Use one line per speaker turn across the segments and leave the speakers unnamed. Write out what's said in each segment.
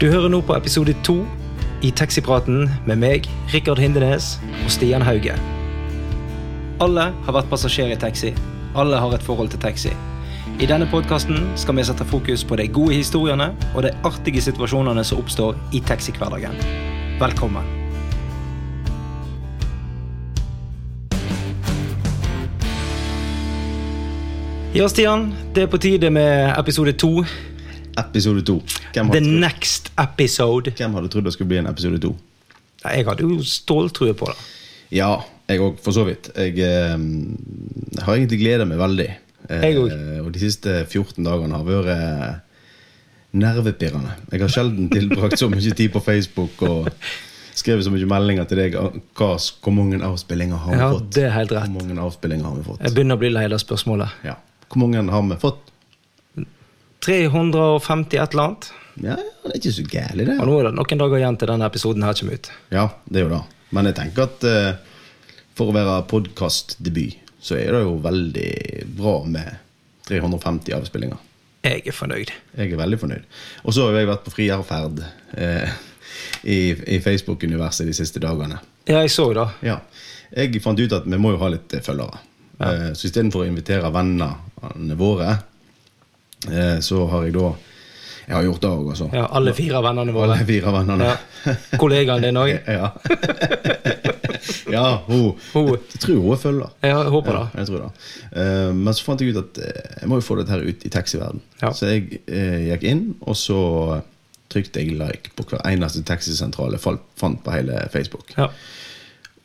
Du hører nå på episode to i Taxipraten med meg, Rikard Hindenes og Stian Hauge. Alle har vært passasjer i taxi. Alle har et forhold til taxi. I denne podkasten skal vi sette fokus på de gode historiene og de artige situasjonene som oppstår i taxihverdagen. Velkommen. Ja, Stian. Det er på tide med episode to.
Episode to. Hvem
The
hadde, trodd,
next episode.
hvem hadde trodd det skulle bli en episode to?
Nei, Jeg hadde jo ståltrue på det.
Ja, jeg òg, for så vidt. Jeg eh, har egentlig gleda meg veldig. Eh,
Jeg
og de siste 14 dagene har vært eh, nervepirrende. Jeg har sjelden tilbrakt så mye tid på Facebook og skrevet så mye meldinger til deg. om Hva, hvor mange avspillinger har vi
Ja,
fått?
det er helt rett.
Hvor mange avspillinger har vi fått?
Jeg begynner å bli lei av det spørsmålet.
Ja. Hvor mange har vi fått?
350 et eller annet.
Ja, ja, det er ikke så gærent, det.
Og nå er det noen dager igjen til denne episoden her kommer ut.
Ja, det er jo det. Men jeg tenker at eh, for å være podkastdebut, så er det jo veldig bra med 350 avspillinger.
Jeg er fornøyd.
Jeg er veldig fornøyd. Og så har jo jeg vært på frierferd eh, i, i Facebook-universet de siste dagene.
Ja, jeg så det.
Ja. Jeg fant ut at vi må jo ha litt eh, følgere. Eh, så istedenfor å invitere vennene våre, eh, så har jeg da Jeg har gjort det òg, altså.
Ja, alle fire vennene våre.
Alle fire vennene.
Ja. Kollegaen din òg.
Ja. ja, hun,
Hun.
Jeg tror hun er følger.
Jeg håper
Ja,
det.
jeg tror det. Eh, men så fant jeg ut at eh, jeg må jo få dette her ut i taxiverden.
Ja.
Så jeg eh, gikk inn, og så trykte jeg like på hver eneste taxisentral jeg falt- fant på hele Facebook.
Ja.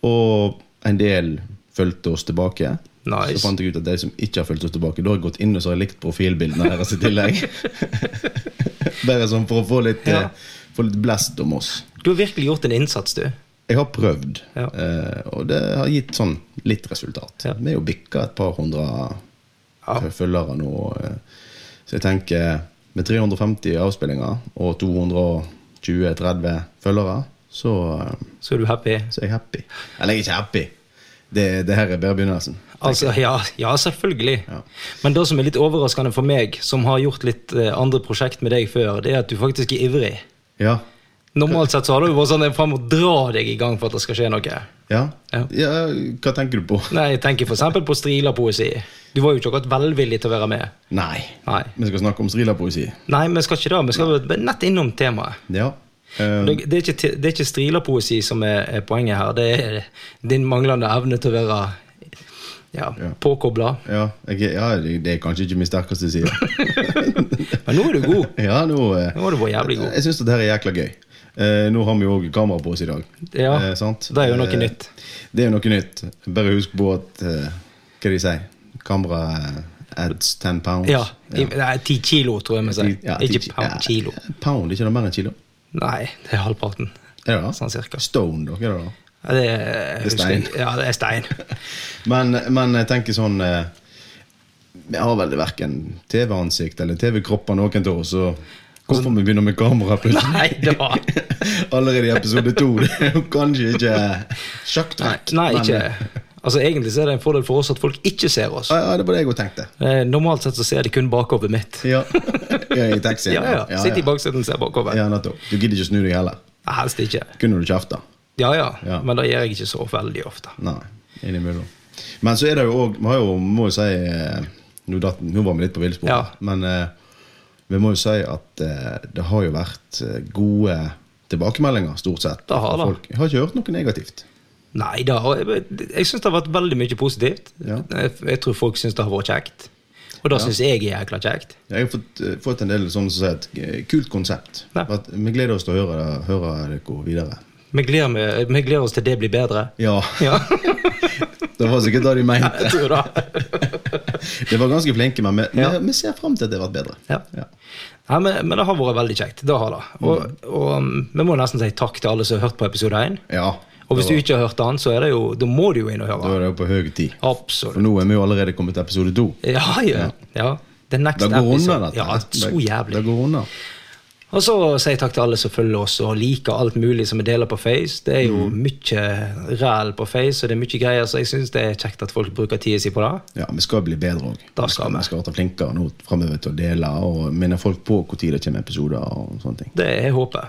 Og en del fulgte oss tilbake.
Nice.
Så fant jeg ut at de som ikke har fulgt oss tilbake, da har jeg gått inn og så har jeg likt profilbildene deres i tillegg. Bare sånn for å få litt,
Ja.
eh, få litt blest om oss.
Du har virkelig gjort en innsats, du.
Jeg har prøvd,
Ja.
eh, og det har gitt sånn litt resultat.
Ja.
Vi er jo bikka et par hundre
Ja.
følgere nå. eh, Så jeg tenker med 350 avspillinger og 220-30 følgere, så, eh,
Så er du happy?
så er jeg happy. Eller jeg er ikke happy. Det, det her er bare begynnelsen.
Altså, ja, ja, selvfølgelig.
Ja.
Men det som er litt overraskende for meg, som har gjort litt eh, andre prosjekt med deg før, det er at du faktisk er ivrig.
Ja.
Normalt sett så har du jo vært sånn frem og dra deg i gang for at det skal skje noe.
Ja.
Ja.
ja. Hva tenker du på?
Nei, jeg tenker for eksempel på Strila-poesi. Du var jo ikke akkurat velvillig til å være med.
Nei.
Nei.
Vi skal snakke om strila-poesi.
Nei, vi skal ikke det. Vi skal nett innom temaet.
Ja. Eh,
Det, det er ikke, te- det er ikke Strila-poesi som er, er poenget her. Det er din manglende evne til å være ja, påkobla.
ja, jeg, ja, det det er kanskje ikke min sterkeste side.
Men nå er du god.
Ja, nå, eh,
Nå var du bare jævlig god.
Jeg syns det her er jækla gøy. Eh, nå har vi jo òg kamera på oss i dag.
Ja,
Eh, sant?
det er jo noe
Eh,
nytt.
Det er jo noe nytt. Bare husk på at eh, Hva de sier Kamera eh, adds 10 pounds.
Ja, i, nei, ti kilo, tror jeg vi sier.
Ja, ti
ikke
ki-
pound,
ja,
kilo.
Pound, ikke det mer enn kilo?
Nei, det er halvparten.
Er det det?
Sånn cirka.
Stone, da? Hva er det da?
Ja, Det er,
Det er stein.
Ja, det er stein.
Men, men jeg tenker sånn eh, Vi har vel verken TV-ansikt eller TV-kropp av noen av oss, så hvorfor vi begynner med kamera plutselig?
Altså, Nei, det var
Allerede i episode to. Det er jo kanskje ikke sjakktrekk.
Nei,
men-
ikke Altså, Egentlig så er det en fordel for oss at folk ikke ser oss.
eh, Ja, ja, det var det jeg òg tenkte.
Eh, Normalt sett så ser de kun bakhodet mitt.
Ja. ja, I taxien.
Ja, ja. Sitt i
ja.
baksetet og ser bakover.
Ja, nettopp. Du gidder ikke snu deg heller.
Helst ikke.
Kunne du kjefta?
Ja, ja,
Ja.
men det gjør jeg ikke så veldig ofte.
Nei. Innimellom. Men så er det jo òg Vi har jo, må jo si eh, Nå, datt, nå var vi litt på villspor,
Ja.
men eh, vi må jo si at eh, det har jo vært eh, gode tilbakemeldinger, stort sett.
Det har
fra
det.
Folk. Jeg har ikke hørt noe negativt.
Nei da, og jeg, jeg syns det har vært veldig mye positivt.
Ja.
Jeg, jeg tror folk syns det har vært kjekt. Og det syns jeg er jækla kjekt.
Jeg har fått, eh, fått en del sånne som sier at eh, kult konsept.
Ja.
At vi gleder oss til å høre, høre dere videre.
Vi gleder, meg- vi gleder oss til det blir bedre.
Ja,
Ja,
det var sikkert det de mente.
jeg tror det.
Det var ganske flinke, men vi,
Ja.
vi, vi ser fram til at det har vært bedre.
Ja. Nei, men, men det har vært veldig kjekt. Det har det. Og,
Mm.
og um, vi må nesten si takk til alle som har hørt på episode 1.
Ja,
Og hvis
da-
du ikke har hørt den, så er det jo, da må du jo inn og
Da
høre.
er det jo på høy tid. For
Absolutt.
nå er vi jo allerede kommet til episode to.
Ja, ja. ja. The next
Det går unna,
episode.
dette.
Ja, så
Det-
jævlig.
Det går unna.
Og så sier jeg takk til alle som følger oss og liker alt mulig som vi deler på Face. Det er
Mm.
jo mye ræl på Face, og det er mye greier, så jeg syns det er kjekt at folk bruker tida si på det.
Ja, vi skal bli bedre òg.
Da skal vi.
vi skal være flinkere nå fremover til å dele og minne folk på når det kommer episoder. og sånne ting.
Det er håpet.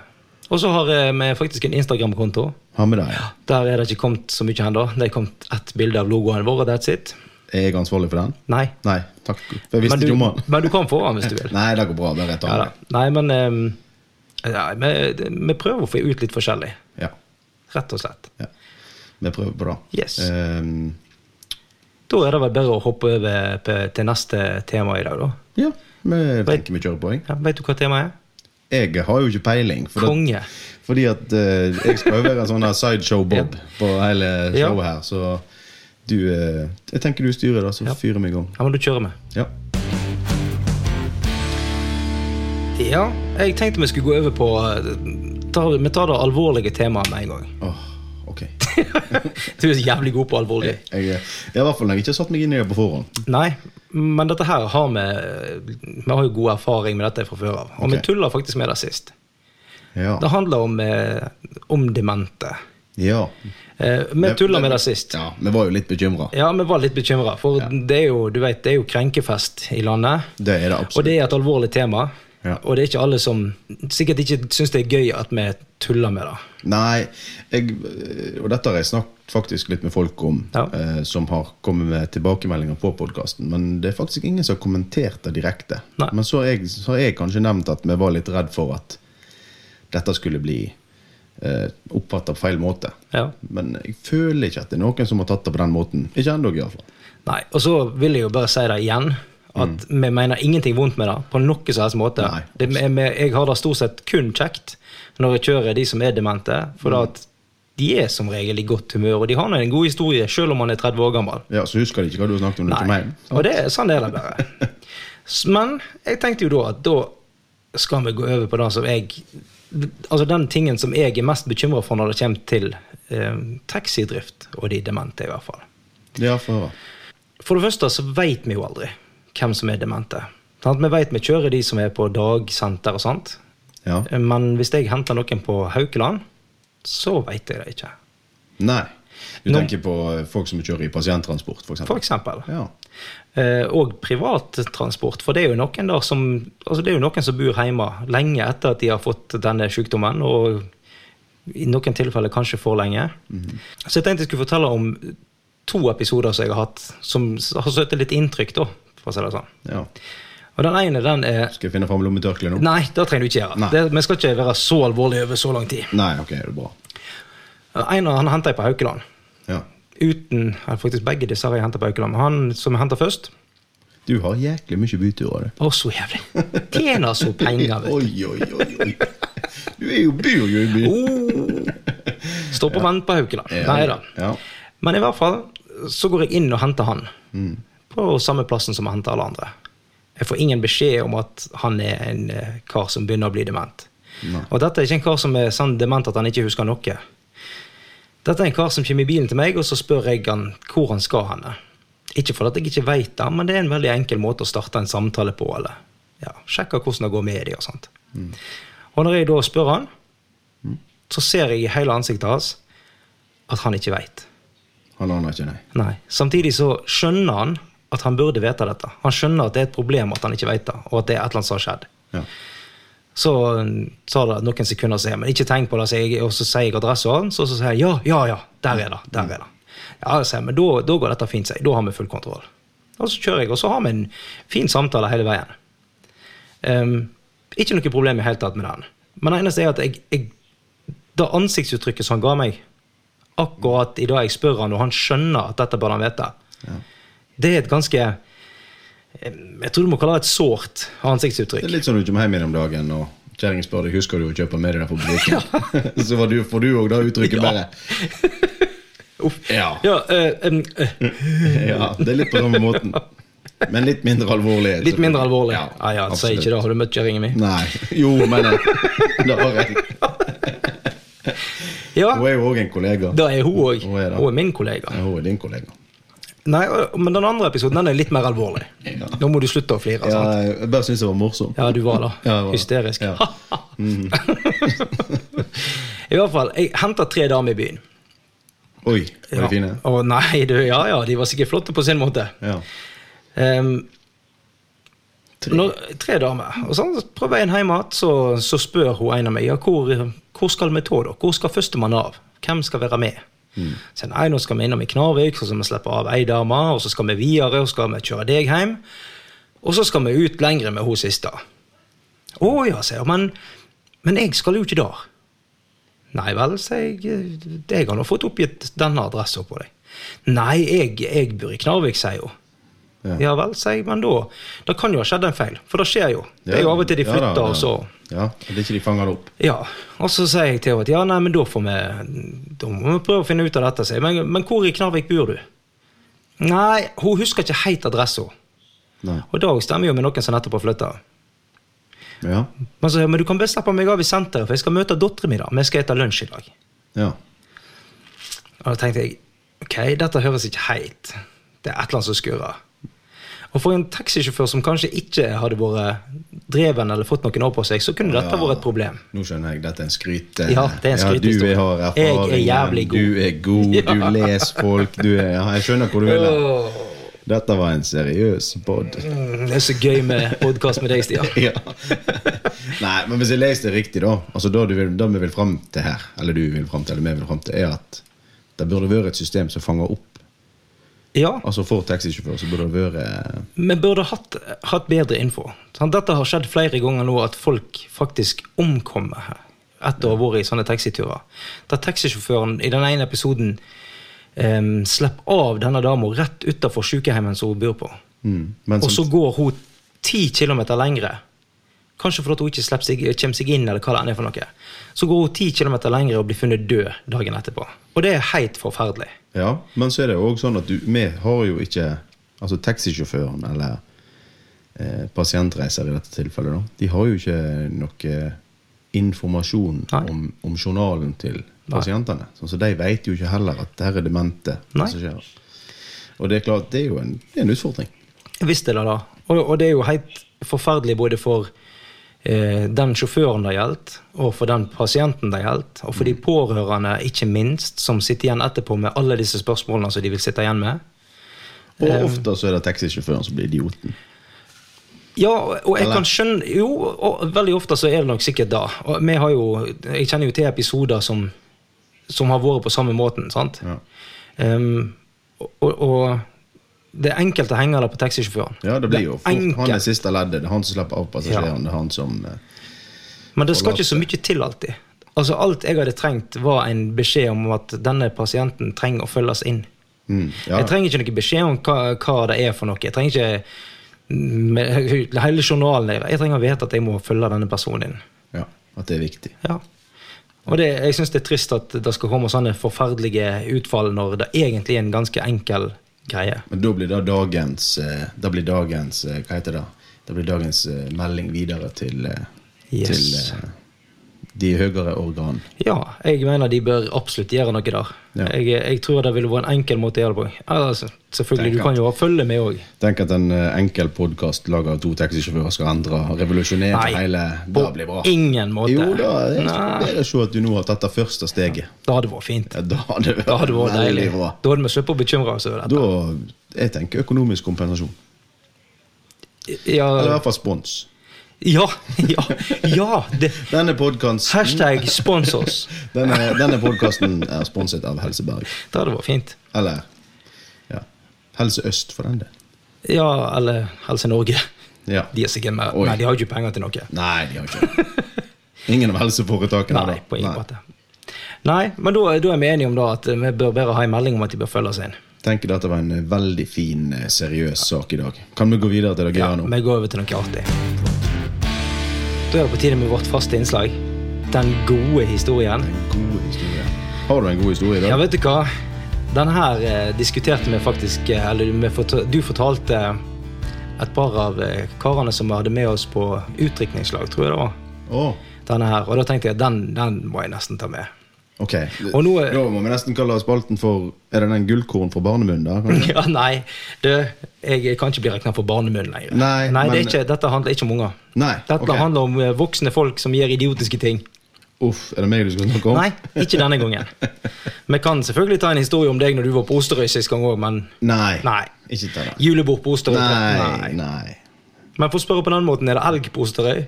Og så har eh, vi faktisk en Instagram-konto.
Har vi det? Ja.
Der er det ikke kommet så mye ennå. Det er kommet ett bilde av logoen vår, og that's it.
Er jeg ansvarlig for den?
Nei.
Nei, takk. For
Men
jeg visste
du,
ikke om den.
men du kan få den hvis du vil.
Nei, det går bra. Bare rett
Ja,
av.
da. Nei, men eh, ja, vi, vi prøver å få ut litt forskjellig.
Ja,
Rett og slett.
ja. Vi prøver på det.
Yes.
Ehm,
Da er det vel bedre å hoppe over på- til neste tema i dag, da.
ja, vi tenker vi kjører på. Jeg.
Ja, Vet du hva temaet er?
jeg har jo ikke peiling. For det,
Konge.
Fordi at eh, jeg skal jo være en sånn her sideshow-bob på hele
Ja.
showet her. Så du eh, Jeg tenker du styrer, da, så
Ja.
fyrer vi i gang.
Ja, men du kjører med.
Ja.
Ja, jeg tenkte vi skulle gå over på eh, tar, Vi tar det alvorlige temaet med en gang.
Åh, ok.
Du er så jævlig god på alvorlig.
Jeg, eh, jeg, I hvert fall når jeg ikke har satt meg inn i det på forhånd.
Nei, men dette her har vi Vi har jo god erfaring med dette fra før av. Og
Ok.
vi tulla faktisk med det sist.
Ja.
Det handler om, eh, om demente.
ja.
Eh, vi tulla med det sist.
Ja, Vi var jo litt bekymra.
Ja, vi var litt bekymra, for det er jo du vet, det er jo krenkefest i landet.
Det er det
Og
absolutt.
det er et alvorlig tema.
Ja.
Og det er ikke alle som sikkert ikke syns det er gøy at vi tuller med det.
Nei, jeg, eh, og dette har jeg snakket faktisk litt med folk om,
Ja.
eh, som har kommet med tilbakemeldinger på podkasten. Men det er faktisk ingen som har kommentert det direkte.
Nei.
Men så har jeg, så har jeg kanskje nevnt at vi var litt redd for at dette skulle bli eh, oppfatta på feil måte.
Ja.
Men jeg føler ikke at det er noen som har tatt det på den måten. Ikke ennå, iallfall.
Nei, Og så vil jeg jo bare si det igjen, at vi mener ingenting vondt med det. på noe som helst måte.
Mm. Nei.
Det, vi- vi- jeg har det stort sett kun kjekt når jeg kjører de som er demente.
Mm.
For da at de er som regel i godt humør, og de har nå en god historie, selv om man er 30 år gammel.
Ja, Så husker de ikke hva du har snakket om? når du kom
Nei.
hjem.
Og det, sånn er det bare. S- Men jeg tenkte jo da at da skal vi gå over på det som jeg Altså den tingen som jeg er mest bekymra for når det kommer til eh, taxidrift, og de demente, i hvert fall.
Ja, få høre.
For det første så veit vi jo aldri hvem som er demente. Sant? Vi veit vi kjører de som er på dagsenter og sånt, eh,
Ja.
men hvis jeg henter noen på Haukeland, så veit jeg det ikke.
Nei. Du
Nå-
tenker på eh, folk som kjører i pasienttransport, f.eks.?
For eksempel.
Ja.
Eh, og privattransport, for det er jo noen der som altså det er jo noen som bor hjemme lenge etter at de har fått denne sykdommen, og i noen tilfeller kanskje for lenge.
Mhm.
Så jeg tenkte jeg skulle fortelle om to episoder som jeg har hatt, som s- har satt litt inntrykk, da, for å si det sånn.
ja.
Og den ene, den er
Skal jeg finne fram lommetørkleet nå?
Nei, det trenger du ikke gjøre.
Nei.
Det, vi skal ikke være så alvorlige over så lang tid.
Nei, ok, det er bra.
En av han henta jeg på Haukeland.
Ja.
Uten, eller faktisk Begge disse har jeg henta på Haukeland. Men han som jeg henta først,
Du har jæklig mye byturer, du.
å, så jævlig. Tjener så penger, vet du.
Oi, oi, oi, oi. Du er jo bor jo i by.
Oh. Står på vent på Haukeland.
Ja.
Nei da.
Ja.
Men i hvert fall så går jeg inn og henter han.
Mm,
På samme plassen som jeg henter alle andre. Jeg får ingen beskjed om at han er en eh, kar som begynner å bli dement.
Nei.
Og dette er ikke en kar som er sånn dement at han ikke husker noe. Dette er en kar som kommer i bilen til meg, og så spør jeg han hvor han skal henne. Ikke fordi jeg ikke veit det, men det er en veldig enkel måte å starte en samtale på. eller ja, Sjekke hvordan det går med dem og sånt. Og når jeg da spør han, så ser jeg i hele ansiktet hans at han ikke veit.
Han aner ikke, nei.
Nei. Samtidig så skjønner han at han burde vite dette. Han skjønner at det er et problem at han ikke veit det, og at det er et eller annet som har skjedd.
Ja.
Så mm, tar det noen sekunder, sier jeg, men ikke tenk på det, sier jeg, og så sier jeg adressen hans, og så sier jeg ja, ja, ja, der er det. der er det. Ja, sier jeg, men da, da går dette fint, sier jeg. Da har vi full kontroll. Og så kjører jeg, og så har vi en fin samtale hele veien. Ehm, ikke noe problem i hele tatt med den. Men det eneste er at jeg, jeg det ansiktsuttrykket som han ga meg, akkurat i dag jeg spør han, og han skjønner at dette bør han vite,
Ja.
det er et ganske eh, Jeg tror du må kalle det et sårt
Det
ansiktsuttrykk.
er litt sånn du kommer hjem igjen om dagen, og kjerringen spør deg husker du å kjøpe med deg det på butikken. Så var du, får du òg det uttrykket bare.
Uff.
Ja.
Ja, eh, em, eh,
Mm. ja. Det er litt på samme måten. Men litt mindre alvorlig.
litt mindre alvorlig. Ja, ja, Si
absolutt.
ikke det. Har du møtt kjerringa mi?
Nei. Jo, men eh, det har jeg.
Ja,
Hun er jo òg en kollega.
det er hun òg.
Hun er det.
Hun er min kollega.
Ja, Hun er din kollega.
Nei, og- Men den andre episoden den er litt mer alvorlig.
Ja.
Nå må du slutte å flire.
Ja,
sant?
jeg bare syns det var morsomt.
Ja, du var da.
Ja, jeg var det.
Hysterisk.
Ja.
I hvert fall, jeg henter tre damer i byen.
Oi, var
Ja.
de fine?
Å nei, du, ja ja, de var sikkert flotte på sin måte.
Ja.
Ehm,
Tre.
når, tre damer. Og sånn, så på veien hjem igjen så, så spør hun en av meg ja, hvor, hvor skal vi ta da? Hvor skal førstemann av? Hvem skal være med? Så jeg, nei, nå skal vi innom i Knarvik, så skal vi slippe av ei dame, og så skal vi videre, og så skal vi kjøre deg hjem. Og så skal vi ut lengre med hun siste. Å ja, sier hun, men, men jeg skal jo ikke der. Nei vel, sier jeg, jeg har nå fått oppgitt denne adressa på deg. Nei, jeg, jeg bor i Knarvik, sier hun.
Ja.
Ja vel, sier jeg, men da Det kan jo ha skjedd en feil, for det skjer jo. Det er jo av og til de
Ja, da,
flytter,
ja.
og så
Ja, det er ikke de fanger det opp.
Ja. Og så sier jeg til henne at ja, nei, men da får vi Da må vi prøve å finne ut av dette, sier jeg. Men, men hvor i Knarvik bor du? Nei, hun husker ikke helt adressa.
Nei.
Og det stemmer jo med noen som nettopp har flytta.
Ja.
Men så sier hun, men du kan bare slappe meg av i senteret, for jeg skal møte dattera mi, da. Vi skal spise lunsj i dag.
ja.
Og da tenkte jeg ok, dette høres ikke helt Det er et eller annet som skurrer. Og for en taxisjåfør som kanskje ikke hadde vært dreven eller fått noen år på seg, så kunne dette
Ja.
vært et problem.
Nå skjønner jeg, dette er en skryt. eh,
Ja, det er en skrythistorie.
Ja, du har
Jeg er
erfaring.
jævlig god.
Du er god, du
Ja.
leser folk. Du er, ja, jeg skjønner hvor du vil. hen.
Åh,
Dette var en seriøs pod.
Mm, det er så gøy med podkast med deg, Stian.
Ja. Nei, men hvis jeg leser det riktig, da altså da, du vil, da vi vil fram til her, eller du vil fram til, eller vi vil fram til, er at det burde være et system som fanger opp.
Ja,
Altså For taxisjåfører så burde det være
vi burde hatt, hatt bedre info. Sånn, dette har skjedd flere ganger nå at folk faktisk omkommer her etter å ha vært i sånne taxiturer. Der taxisjåføren i den ene episoden um, slipper av denne dama rett utafor sykehjemmet som hun bor på.
mm, men
Og
som-
så går hun ti kilometer lengre. Kanskje fordi hun ikke slipper seg, kommer seg inn, eller hva det enn er for noe. Så går hun ti kilometer lengre og blir funnet død dagen etterpå. Og det er helt forferdelig.
Ja, men så er det jo også sånn at du, vi har jo ikke Altså taxisjåføren eller eh, pasientreiser i dette tilfellet, da. De har jo ikke noe informasjon
Nei.
om, om journalen til pasientene. Sånn, så de vet jo ikke heller at her er demente. hva
Nei.
som skjer. Og det er klart, det er jo en, det er en utfordring.
Visst er det da. Og, og det er jo helt forferdelig både for eh, den sjåføren det gjaldt, og for den pasienten det gjaldt, og for de pårørende, ikke minst, som sitter igjen etterpå med alle disse spørsmålene som de vil sitte igjen med.
Og
Eh.
ofte så er det taxisjåføren som blir idioten.
Ja, og jeg
Eller?
kan skjønne Jo, og veldig ofte så er det nok sikkert da. Og vi har jo, jeg kjenner jo til episoder som, som har vært på samme måten. sant?
Ja,
Ehm, og, og det er enkelt å henge det på taxisjåføren.
ja det blir jo fort, Han er
enkelt.
siste leddet. Det er han som slipper av passasjeren. Det er han som eh,
Men det skal ikke så mye til alltid. Altså Alt jeg hadde trengt, var en beskjed om at denne pasienten trenger å følges inn.
mm, ja.
Jeg trenger ikke noe beskjed om hva, hva det er for noe. Jeg trenger ikke med, hele journalen. Jeg- Jeg trenger å vite at jeg må følge denne personen inn.
ja, At det er viktig.
Ja. Og det, jeg syns det er trist at det skal komme sånne forferdelige utfall når det egentlig er en ganske enkel greie.
Men da blir da dagens, eh, da blir dagens eh, Hva heter det? Da blir dagens eh, melding videre til, eh,
Yes.
til eh, de høyere organ.
Ja, jeg mener de bør absolutt gjøre noe der.
Ja.
Jeg, jeg tror det ville vært en enkel måte å gjøre det på. Altså, selvfølgelig,
Tenk
du kan jo følge med òg.
Tenk at en eh, enkel podkast laga av to taxisjåfører skal endre revolusjonere
Nei,
hele
på
Det blir bra.
ingen måte.
Jo da, det er
Nei.
bedre å se at du nå har tatt det første steget.
Det hadde vært fint.
Ja, da hadde det
Det hadde vært
veldig
deilig.
bra.
Da hadde vi sluppet å bekymre oss over dette.
Da jeg tenker økonomisk kompensasjon. Eller i
Ja,
hvert fall spons.
ja, ja, ja det.
Denne podkasten
Hashtag spons oss.
denne, denne podcasten er sponset av Helse Berg.
Det hadde vært fint.
Eller ja. Helse Øst, for den del.
Ja, eller Helse Norge.
Ja.
De er sikkert med.
Oi.
Nei, de har jo ikke penger til noe.
Nei, de har ikke Ingen av helseforetakene.
Nei,
da.
på ingen
Nei.
måte. Nei, men da, da er vi enige om da at vi bør bare ha en melding om at de bør følge oss inn.
Tenker dette var en eh, veldig fin, eh, seriøs sak i dag. Kan vi gå videre til det gøye
Ja,
nå?
vi går over til noe artig. Da er det på tide med vårt faste innslag. Den gode historien.
God historie. Har du en god historie i
Ja,
dag?
vet du hva? Den her eh, diskuterte vi faktisk eh, Eller vi forta- du fortalte et par av eh, karene som vi hadde med oss på utdrikningslag, tror jeg det var.
Å,
Denne her, Og da tenkte jeg den, den må jeg nesten ta med.
Ok,
Og nå er-
Da må vi nesten kalle spalten for Er det den gullkorn fra barnemunn? da? kanskje?
Ja, nei, du, jeg kan ikke bli regna for barnemunn lenger.
Nei,
det er
men-
ikke, dette handler ikke om unger.
Nei,
Dette
ok.
handler om eh, voksne folk som gjør idiotiske ting.
Uff, er det meg du skal snakke om?
Nei, ikke denne gangen. Vi kan selvfølgelig ta en historie om deg når du var på Osterøy sist gang òg, men
Nei.
Nei.
Ikke ta det.
julebord på Osterøy
Nei, nei.
Men for å spørre på den måten, er det elg på Osterøy?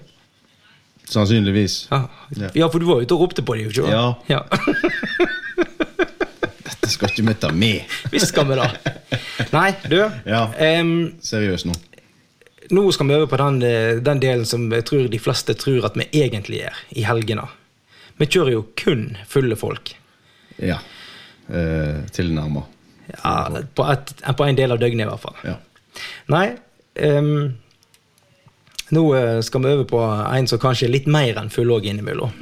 Sannsynligvis.
Ja.
Ja.
ja, for du var ute og ropte på dem, ikke sant? Ja.
Dette skal ikke vi ta med.
Visst skal vi det. Nei, du.
Ja.
em,
Seriøst nå.
nå skal vi over på den, eh, den delen som jeg tror de fleste tror at vi egentlig gjør i helgene. Vi kjører jo kun fulle folk.
Ja. Eh, tilnærma.
Ja, på, et, på en del av døgnet, i hvert fall.
Ja.
Nei. ehm, nå eh, skal vi over på en som kanskje er litt mer enn full òg innimellom.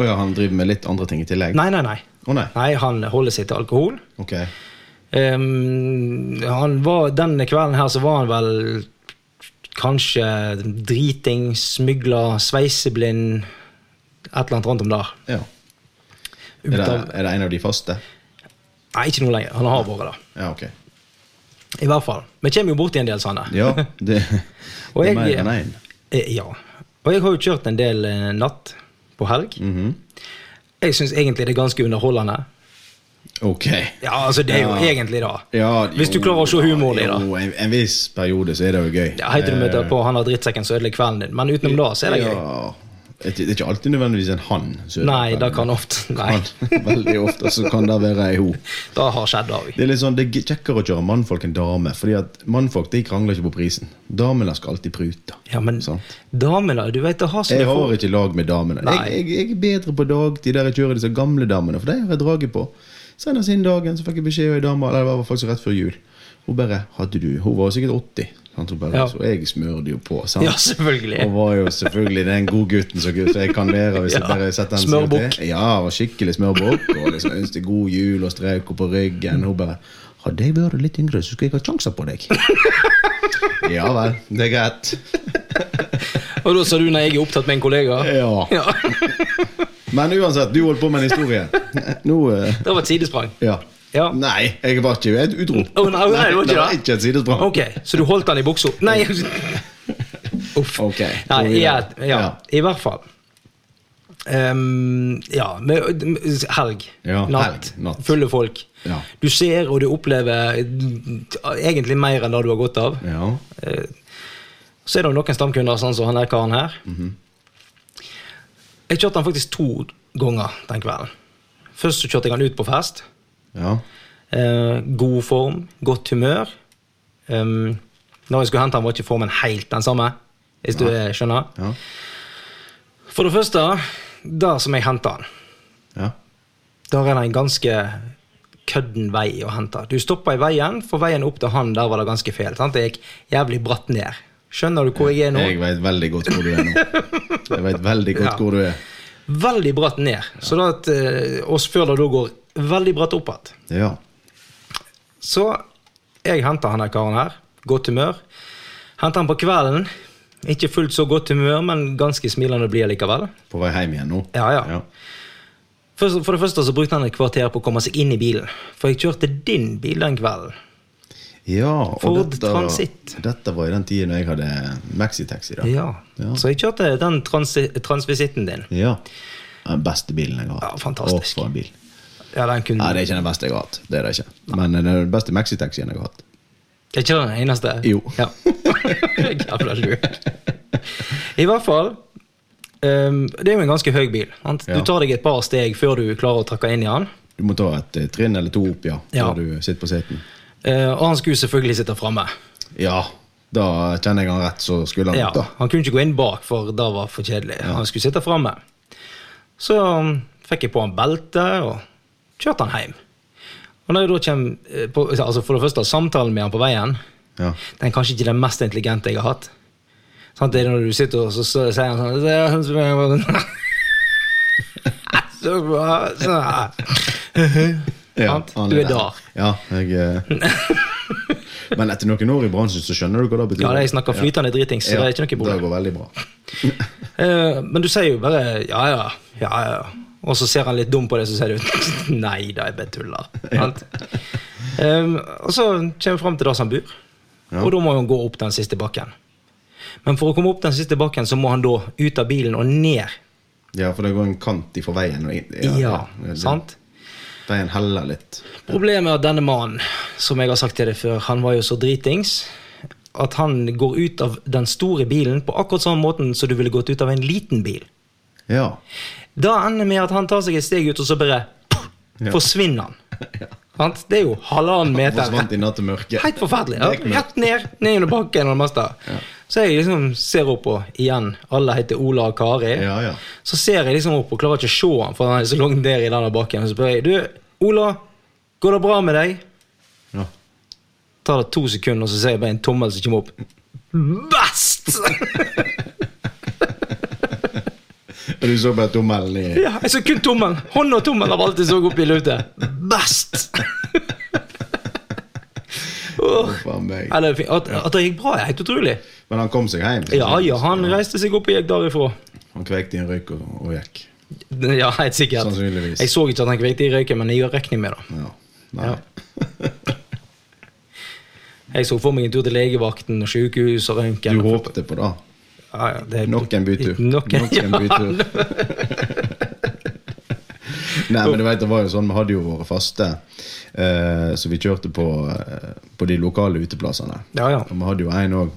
Å ja, han driver med litt andre ting i tillegg?
Nei, nei, nei.
Å nei.
Nei, Han holder seg til alkohol.
Ok.
Ehm, han var, denne kvelden her så var han vel kanskje driting, smygla, sveiseblind Et eller annet rundt om der.
Ja.
Ut
Er det,
av,
er det en av de faste?
nei, ikke nå lenger. Han har vært det.
Ja, ok.
I hvert fall. Vi kommer jo borti en del sånne.
Ja, det,
Og
det er
jeg-
mer enn én.
Eh, ja. Og jeg har jo kjørt en del eh, natt på helg.
Mhm.
Jeg syns egentlig det er ganske underholdende.
Ok.
Ja, altså, det er jo
Ja.
egentlig det.
Ja,
Hvis du
jo,
klarer å se humoren i det.
Jo, en, en viss periode så er det jo gøy. Eh,
Ja, Heter du møter på 'han har drittsekken som ødelegger kvelden din', men utenom det så er det
ja.
gøy.
Det er ikke alltid nødvendigvis en han. som er
Nei,
den.
det kan ofte Nei,
Kan- Veldig ofte så kan det være ei ho.
det har skjedd, det òg.
Det er litt sånn, det er kjekkere å kjøre mannfolk enn dame, fordi at mannfolk de krangler ikke på prisen. Damene skal alltid prute.
Ja, men
Sant.
damene, du vet det har
Sånn. Jeg
sånne
har
få
ikke lag med damene. Jeg,
Nei.
jeg, jeg er bedre på dagtid der jeg kjører disse gamle damene, for de har jeg draget på. Senest inn dagen så fikk jeg beskjed av ei dame, eller det var faktisk rett før jul. Hun bare hadde du, hun var sikkert 80, sant? Hun bare,
Ja.
så jeg smørte jo på. sant?
Ja, selvfølgelig.
Og var jo selvfølgelig den godgutten som så jeg kan være. hvis jeg
Ja,
bare setter en
smørbukk.
til. Ja, var skikkelig smørbukk. Og liksom ønsket god jul og strøk på ryggen. Hun bare Hadde jeg vært litt yngre, så skulle jeg hatt sjanser på deg. ja vel, det er greit.
Og da sa du når jeg er opptatt med en kollega.
Ja.
Ja,
Men uansett, du holdt på med en historie. Nå eh,
Det var et sidesprang.
Ja.
Ja.
Nei, jeg var ikke et utro.
Å, nei, nei, det var ikke
det var
det.
ikke et sidesprang.
Ok, så du holdt den i buksa? Nei. Uff.
Ok, går
Nei,
videre.
ja, ja,
Ja.
i hvert fall. Ehm, ja, med, med- helg.
Ja,
natt.
helg, natt.
Fulle folk.
Ja.
Du ser og du opplever eh, egentlig mer enn det du har godt av.
Ja.
Eh, Så er det jo noen stamkunder, sånn som han der karen her.
Mhm.
Jeg kjørte han faktisk to ganger den kvelden. Først så kjørte jeg han ut på fest.
ja.
Eh, god form, godt humør. Um, når jeg skulle hente han var ikke formen helt den samme, hvis du eh, skjønner.
Ja.
For det første, der som jeg henta han,
Ja.
der er det en ganske kødden vei å hente. Du stopper i veien, for veien opp til han, der var det ganske fel. Sant? Det gikk jævlig bratt ned. Skjønner du hvor jeg er nå?
Jeg veit veldig godt hvor du er nå. Jeg vet veldig godt
Ja.
hvor du er.
Veldig bratt ned. Så da at eh, oss før det da går veldig bratt opp igjen.
Ja.
Så jeg henter han her karen her. Godt humør. Henter han på kvelden. Ikke fullt så godt humør, men ganske smilende blir jeg likevel.
På vei hjem igjen nå?
Ja, ja. Først, for det første så brukte han et kvarter på å komme seg inn i bilen. For jeg kjørte din bil den kvelden.
Ja, og
Ford
dette,
Transit.
dette var i den tiden jeg hadde maxitaxi. da.
Ja.
Ja.
Så jeg kjørte den transi- transvisitten din.
Ja. Den beste bilen jeg har hatt.
Ja, fantastisk.
Å, for en bil.
Ja, den kunne
Nei, det er ikke den beste jeg har hatt. Det er det ikke. Men det er den beste maxitaxien jeg har hatt.
Er ikke det den eneste?
Jo.
Ja. Jævla lur. I hvert fall ehm, Det er jo en ganske høy bil. Sant?
Ja.
Du tar deg et par steg før du klarer å trakke inn i han.
Du må ta et eh, trinn eller to opp, ja,
Ja.
før du sitter på seten.
Eh, og han skulle selvfølgelig sitte framme.
Ja, da kjenner jeg han rett, så skulle han
Ja,
opp, da.
han kunne ikke gå inn bak, for det var for kjedelig. Han skulle sitte framme. Så um, fikk jeg på han belte og kjørte han hjem. Og når jeg da kjem, eh, på, altså For det første, samtalen med han på veien
Ja.
den er kanskje ikke den mest intelligente jeg har hatt. Sant, det er når du sitter og så, så, sier han sånn «Det er han som er- Så bra, så- Sant?
han
Du er
der.
der.
Ja, jeg eh, Men etter noen år i bransjen så skjønner du hva det betyr.
Ja, jeg snakker flytende dritings, så det er ikke noe problem.
Det går veldig bra.
Eh, men du sier jo bare ja, ja, ja, ja. Og så ser han litt dum på det, så sier du Nei da, jeg bare tuller. sant? Ehm, og så kommer vi fram til der som han bor,
Ja.
og da må han gå opp den siste bakken. Men for å komme opp den siste bakken, så må han da ut av bilen og ned.
Ja, for det går en kant ifra veien. og inn-
Ja,
det-
sant?
Veien heller litt.
Problemet er at denne mannen, som jeg har sagt til deg før, han var jo så dritings at han går ut av den store bilen på akkurat samme måten som du ville gått ut av en liten bil.
Ja.
Da ender med at han tar seg et steg ut, og så bare
Ja.
forsvinner han. Sant? Det er jo halvannen meter.
Forsvant i nattemørket.
Helt forferdelig.
Det er
Ja.
ikke
Rett ned, ned under bakken og det meste. Så jeg liksom ser opp, og igjen, alle heter Ola og Kari.
noe- Ja, ja.
Så ser jeg liksom opp og klarer ikke å se han, for han er så langt ned i denne bakken. Så spør jeg du, Ola, går det bra med deg?
ja.
Tar det to sekunder, og så ser jeg bare en tommel som kommer opp. Best!
Og du så bare tommelen i
Ja, jeg så kun tommelen. Hånd og tommel av alt jeg så opp i lufta. Best! Åh.
Faen meg.
Ja, det er fint. At, at det gikk bra, er helt utrolig.
Men han kom seg hjem.
Ja, ja, han reiste seg opp og gikk derifra.
Han kvekte i en røyk og, og gikk.
Ja, helt sikkert.
Sannsynligvis.
Jeg så ikke at han kvekte i røyken, men jeg gjør regning med det.
Ja. Nei.
Ja. Jeg så for meg en tur til legevakten og sykehus og røntgen.
Du håpte på det.
Ja, ja, det er-
Nok en bytur.
Nok en,
en
ja.
bytur. Nei, men du vet, det var jo sånn, Vi hadde jo våre faste, eh, så vi kjørte på, eh, på de lokale uteplassene.
Ja, ja.
Og vi hadde jo en òg.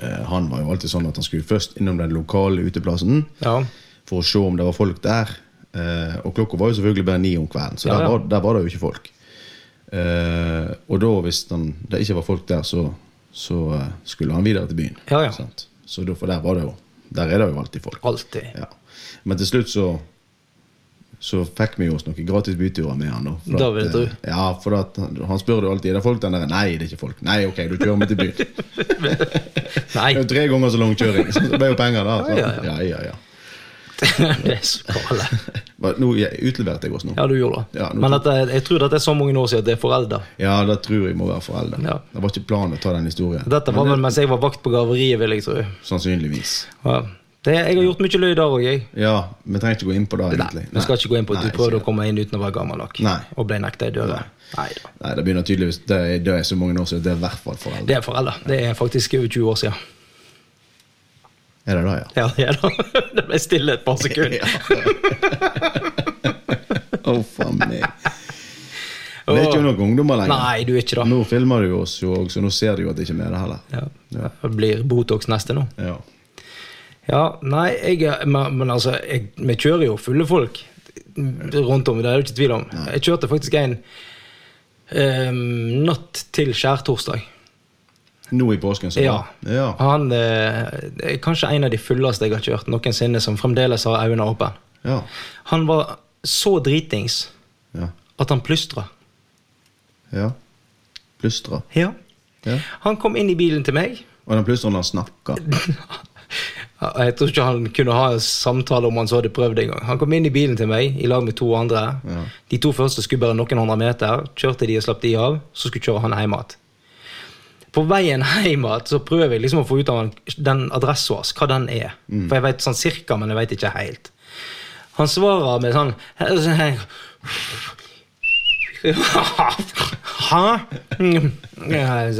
Eh, han var jo alltid sånn at han skulle først innom den lokale uteplassen
ja.
for å se om det var folk der. Eh, og klokka var jo selvfølgelig bare ni om kvelden, så
Ja,
der,
ja.
var, der var det jo ikke folk. Eh, og da, hvis han, det ikke var folk der, så, så eh, skulle han videre til byen.
Ja, ja.
Sant? Så da, for der var det jo Der er det jo alltid folk.
Alltid.
Ja. Men til slutt så så fikk vi jo oss noen gratis byturer med han. Da, for
Da vil jeg
at,
tro.
eh, Ja, for at han, han spør jo alltid er det folk der nede. Nei, det er ikke folk. Nei, ok, du kjører meg til byen. Det er
Nei,
jo tre ganger så lang kjøring. Så det ble jo penger da.
Ja,
Så. Ja,
ja,
ja, ja.
det er så gale.
Hva- Nå jeg utleverte jeg oss nå.
Ja, du gjorde det.
Ja, nå
Men
tok-
at jeg, jeg tror dette er så mange år siden at det er forelda.
Ja, det tror jeg må være foreldre.
Ja.
Det var ikke planen å ta den historien.
Dette var
Men
vel mens jeg var vakt på graveriet, vil jeg tro.
det- Sannsynligvis.
Ja. Det, jeg har gjort mye løy der òg, jeg.
Ja, vi trenger ikke gå inn på det, egentlig.
Du skal ikke gå inn på at
Nei,
du prøvde
ikke
å komme inn uten å være gammel nok.
Nei.
Og ble nekta i døra. Nei da.
det. Nei, det begynner tydeligvis Det er, det er så mange år siden. Det er i hvert fall foreldre.
Det er foreldre. Det er faktisk over 20 år siden.
Er det det, ja?
Ja, det er det. Det ble stille et par sekunder.
Å, faen meg. Vi er ikke jo noen ungdommer lenger.
Nei, du er ikke det.
Nå filmer du oss jo òg, så nå ser du jo at det ikke er med det heller.
Ja. Det blir Botox neste nå.
Ja.
Ja, nei, jeg, er- men, men altså, jeg, vi kjører jo fulle folk rundt om, det er det jo ikke tvil om. Jeg kjørte faktisk en ehm, natt til skjærtorsdag.
Nå i påsken, så
Ja.
ja.
Han eh, er kanskje en av de fulleste jeg har kjørt noensinne, som fremdeles har øynene åpne.
Ja.
Han var så dritings
Ja.
at han plystra.
ja. Plystra.
Ja.
Ja.
Han kom inn i bilen til meg.
Og den plystrer når han snakker.
Jeg tror ikke han kunne ha en samtale om han så hadde prøvd det engang. Han kom inn i bilen til meg i lag med to andre.
Ja.
De to første skulle bare noen hundre meter. Kjørte de og slapp de av. Så skulle kjøre han hjem igjen. På veien hjem igjen så prøver jeg liksom å få ut av han den adressen hans, hva den er. For jeg vet sånn cirka, men jeg vet ikke helt. Han svarer med sånn Hæ? Jeg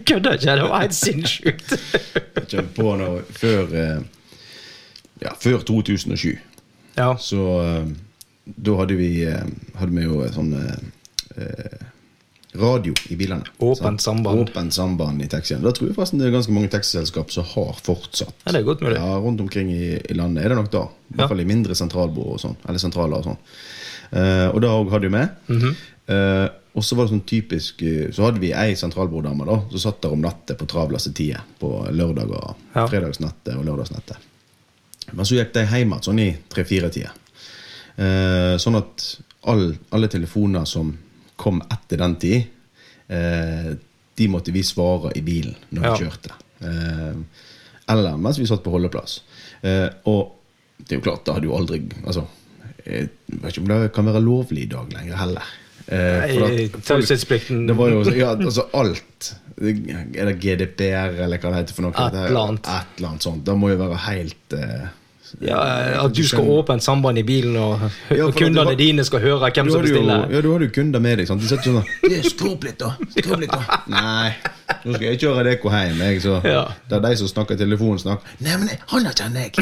kødder ikke, det var helt sinnssykt.
Jeg kommer på nå før eh, Ja, før 2007.
Ja.
Så eh, da hadde vi eh, Hadde vi jo eh, sånn eh, eh, radio i bilene.
Åpent
Sant?
samband.
Åpent samband i taxien. Da tror jeg forresten det er ganske mange taxiselskap som har fortsatt.
Ja, det er godt mulig.
Ja, rundt omkring i, i landet er det nok da. I
Ja.
hvert fall i mindre sentralbord og sånn. Eller sentraler og sånn. Eh, og det òg hadde vi. Eh, og så var det sånn typisk eh, Så hadde vi ei sentralborddame da, som satt der om natta på travleste tider. På lørdager,
Ja.
fredagsnatter og lørdagsnatter. Men så gikk de hjem igjen sånn i tre-fire-tida. Eh, sånn at all, alle telefoner som kom etter den tid, eh, de måtte vi svare i bilen når
Ja.
vi kjørte. Eh, eller mens vi satt på holdeplass. Eh, og det er jo klart, det hadde jo aldri altså, Jeg vet ikke om det kan være lovlig i dag lenger heller. Eh, for
Nei,
at folk-
Taushetsplikten
Det var jo ja, altså alt Er det GDPR, eller hva det heter? for noe?
Et eller annet.
Et eller annet sånt. Det må jo være helt eh,
ja, At du skal
skjønner.
åpne samband i bilen, og, og
Ja, for at det
kundene
var-
dine skal høre hvem
Du
som
hadde jo,
bestiller.
ja, du hadde jo kunder med deg. sant? De satt sånn da, «Du, Skru opp litt, da! skru opp litt da. Nei, nå skal jeg kjøre Adecco hjem. Jeg, så.
Ja.
Det er de som snakker telefonsnakk. Nei, men jeg- han har kjenner jeg!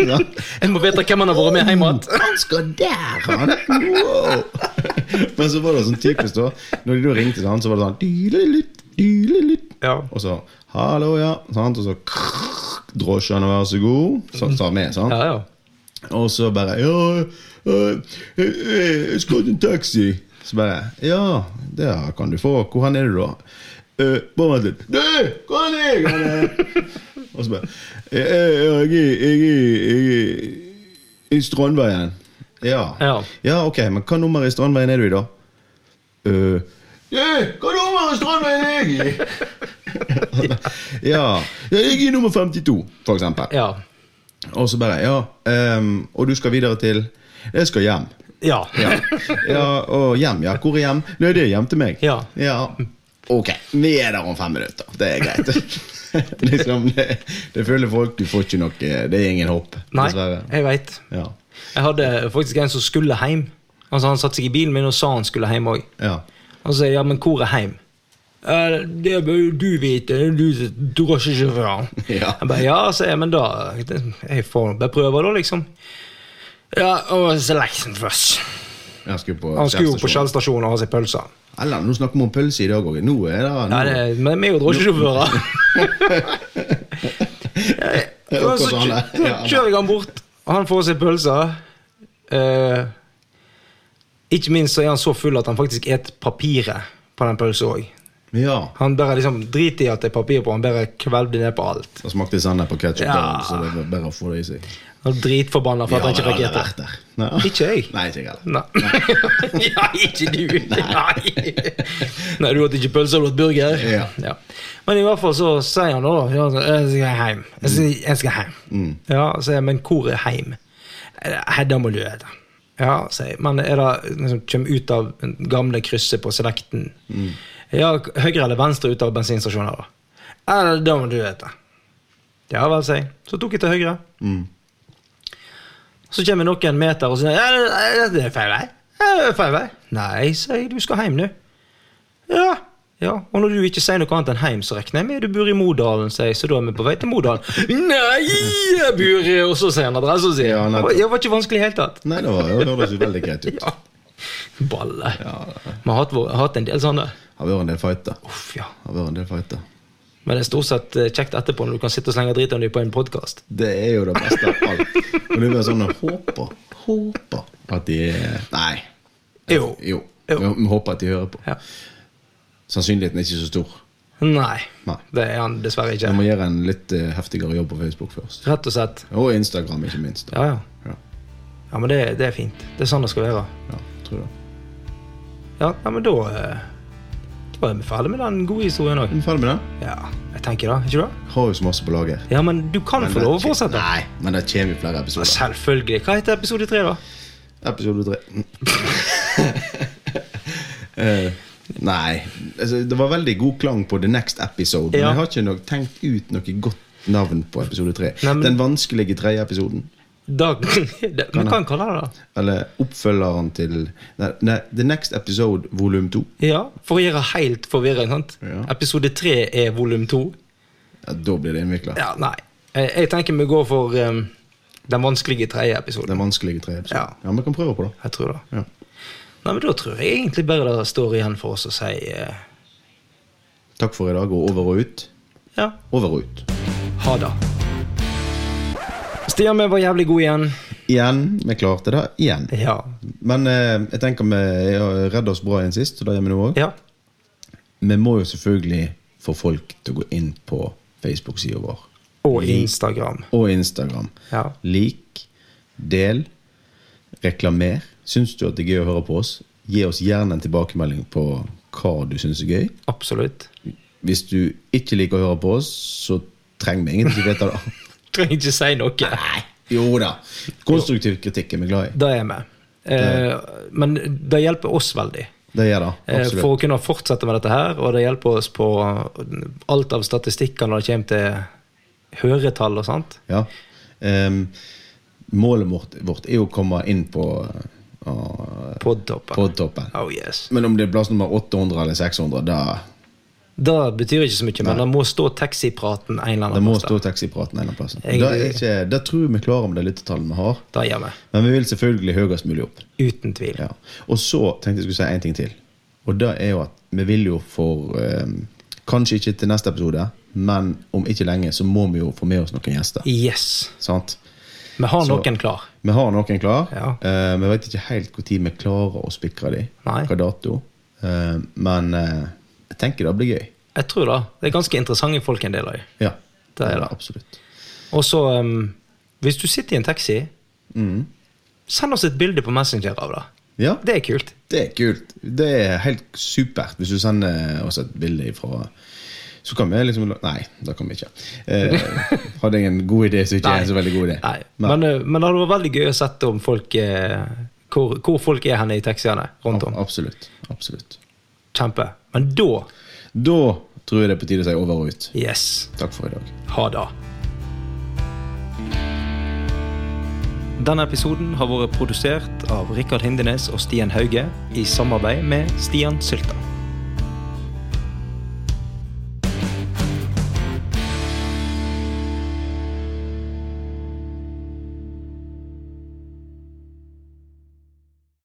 Ja.
Jeg må vite hvem han har vært med hjem igjen.
Han skal der, han! Wow. Men så var det sånn typisk, da. Når de da ringte til han, så var det sånn «Dylelutt, dylelutt».
Ja.
Og så 'hallo, ja', sant? og så krrr, 'drosjene, vær så god', så sa vi, sant?
Ja, ja.
Og så bare Ja, øh, jeg, jeg- jeg skal ha en taxi. Så bare Ja, det kan du få. Hvor hen er du, da? «Øh, bare vent litt. Du, hvor hen er jeg? hen er?» Og så bare Jeg, jeg, jeg, jeg, jeg, jeg, jeg i Strandveien. Ja.
Ja.
ja, ok, men hva nummer i Strandveien er du i, da? «Øh, «Du, hva nummer i Strandveien er jeg i? ja, jeg er i nummer 52, for eksempel.
ja.
Og så bare Ja, ehm, og du skal videre til Jeg skal hjem.
ja.
Ja, ja og hjem, ja. Hvor er hjem? Nei, det er hjem til meg.
Ja.
Ok, vi er der om fem minutter. Det er greit. liksom, det, det føler folk du får ikke noe Det er ingen hopp,
Nei,
dessverre.
jeg veit.
Ja.
Jeg hadde faktisk en som skulle hjem. Altså, han satte seg i bilen min og sa han skulle hjem òg.
ja.
Han sier ja, men hvor er hjem? «Eh, Det bør jo du vite, det er du som er drosjesjåføren.
Ja.
Jeg bare ja, sier jeg, men da Jeg får bare prøve, da, liksom. Ja, og Selection først.
Jeg skulle på
Han skulle jo på
kjellstasjonen.
Shell stasjon og ha seg pølser.
Eller, nå snakker vi om pølse i dag òg. Nå er det, nå,
Ja, det, men vi er jo drosjesjåfører.
det er
Og
akkurat
så kjø-
sånn, det. Ja,
kjører jeg han bort, og han får seg pølser. Eh, ikke minst så er han så full at han faktisk et papiret på den pølsa òg.
ja.
Han bare liksom driter i at det er papir på, han bare kvelder ned på alt.
Da smakte sennep og ketsjup,
Ja.
så det var bedre å få det i seg.
Han er dritforbanna for at han ikke
vel
fikk
alle
ete.
vært der. Nei.
Ikke jeg.
Nei, ikke jeg heller.
Nei. ja, ikke du. Nei. Nei, du åt ikke pølse, du åt burger.
Ja.
Men i hvert fall så sier han da ja, så, Jeg skal hjem. Jeg skal, jeg skal hjem.
Mm,
Ja, sier jeg, men hvor er heim? Hedda må løde. Ja, sier jeg. Men er det liksom, kommer ut av den gamle krysset på Selekten. Ja, høyre eller venstre ut av bensinstasjonen da? Ja, da må du vite. Ja vel, sier jeg. Så tok jeg til høyre.
mm.
Så kommer noen meter og sier ja, det- det er feil vei. Ja, det er feil vei. Nei, sier jeg, du skal hjem nå. Ja. ja. Og når du ikke sier noe annet enn hjem, så regner jeg med du bor i Modalen, sier jeg, så da er vi på vei til Modalen. Nei, jeg bor i Og så sier han adresse og sier
Ja,
Det
nettopp.
var- det var ikke vanskelig i det hele tatt.
Nei, det var- det høres jo veldig greit ut.
Ja. Balle.
Ja, det
Vi har hatt, vår- hatt en del sånne.
har vært en del fighter.
Uff, ja.
Har vært en del fighter.
Men det er stort sett eh, kjekt etterpå når du kan sitte og slenge drit om dem på en podkast.
Det er jo det beste av alt. Og det er bare sånn jeg håper, håper at de Nei.
Jo.
Jo.
Jo.
Vi håper at de hører på.
Ja.
Sannsynligheten er ikke så stor.
Nei.
Nei.
Det er han dessverre
Vi
ikke.
må gjøre en litt eh, heftigere jobb på Facebook først.
Rett og slett.
Og Instagram, ikke minst. da.
Ja, ja.
Ja,
Ja, men det, det er fint. Det er sånn det skal være.
ja tror det.
Ja, ja men da eh, Da er vi ferdig med den gode historien òg.
Er vi ferdig med den?
Ja, jeg tenker det. Ikke det?
Har jo så masse på lager.
Ja, men du kan få lov å fortsette.
Nei, men det kommer jo flere episoder.
Selvfølgelig. Hva heter episode tre, da?
Episode tre. Eh, nei, altså, det var veldig god klang på The Next Episode.
Ja.
Men jeg har ikke nok tenkt ut noe godt navn på episode tre.
Nei, men-
Den vanskelige tredje episoden.
Da, det, vi kan kalle det det.
Eller oppfølgeren til Nei, nei The Next Episode volum to.
Ja, For å gjøre helt forvirring. sant?
Ja.
Episode tre er volum to.
Ja, da blir det innvikla.
Ja, nei. Eh, Jeg tenker vi går for eh, den vanskelige tredje episoden.
Den vanskelige tredje episoden.
Ja.
Ja, vi kan prøve på det.
Jeg tror det.
Ja.
Nei, men Da tror jeg egentlig bare det står igjen for oss å si eh,
Takk for i dag, og over og ut.
ja,
Over og ut.
ha det. Stian, vi var jævlig gode igjen.
Igjen. Vi klarte det igjen.
Ja.
Men eh, jeg tenker vi eh, redder oss bra igjen sist, og det gjør vi nå òg.
ja.
Vi må jo selvfølgelig få folk til å gå inn på Facebook-sida vår.
Og Instagram.
Og Instagram.
Ja.
Lik, del, reklamer. Syns du at det er gøy å høre på oss? Gi oss gjerne en tilbakemelding på hva du syns er gøy.
Absolutt.
Hvis du ikke liker å høre på oss, så trenger vi egentlig ikke vite det.
Trenger ikke si noe.
Jo da. Konstruktiv kritikk er vi glad i.
Det er vi. Eh, men det hjelper oss veldig.
Det gjør det.
eh,
Absolutt.
for å kunne fortsette med dette her. Og det hjelper oss på alt av statistikker når det kommer til høretall og sånt.
Ja. Ehm, målet vårt, vårt er å komme inn på uh,
Podtoppen.
podtoppen.
Oh yes.
Men om det er plass nummer 800 eller 600, da
Det betyr ikke så mye, men det må stå taxipraten en eller
det
annen
må
plass.
stå taxipraten en eller annen plass.
Jeg-
Da, er ikke, da tror jeg vi klarer om det lyttetallet vi har.
der. Det gjør vi.
Men vi vil selvfølgelig høyest mulig opp.
Uten tvil.
Ja. Og så tenkte jeg skulle si en ting til. Og det er jo at vi vil jo for ehm, Kanskje ikke til neste episode, men om ikke lenge så må vi jo få med oss noen gjester.
Yes.
Sant?
Vi har
Så-
noen klar.
Vi har noen klar.
Ja.
Eh, vi vet ikke helt når vi klarer å spikre dem.
Nei.
Hva dato. Eh, men eh, jeg tenker det blir gøy.
Jeg tror det. Det er ganske interessante folk en del av.
Ja.
Det er det.
Absolutt.
Og så, um, hvis du sitter i en taxi, send oss et bilde på Messenger av det.
Mm. Ja,
Det er kult.
det er kult. Det er helt supert hvis du sender oss et bilde ifra så kan vi liksom Nei, det kan vi ikke. Eh, hadde jeg en god idé, så ikke er jeg en så veldig god idé.
Nei. Men, uh, men det hadde vært veldig gøy å sette om folk eh, hvor, hvor folk er henne i taxiene rundt om.
Absolutt. Absolutt.
Kjempe. Men da
Da tror jeg det er på tide å si over og ut.
Yes.
Takk for i dag.
Ha det. Denne episoden har vært produsert av Rikard Hindenes og Stian Hauge i samarbeid med Stian Sylta.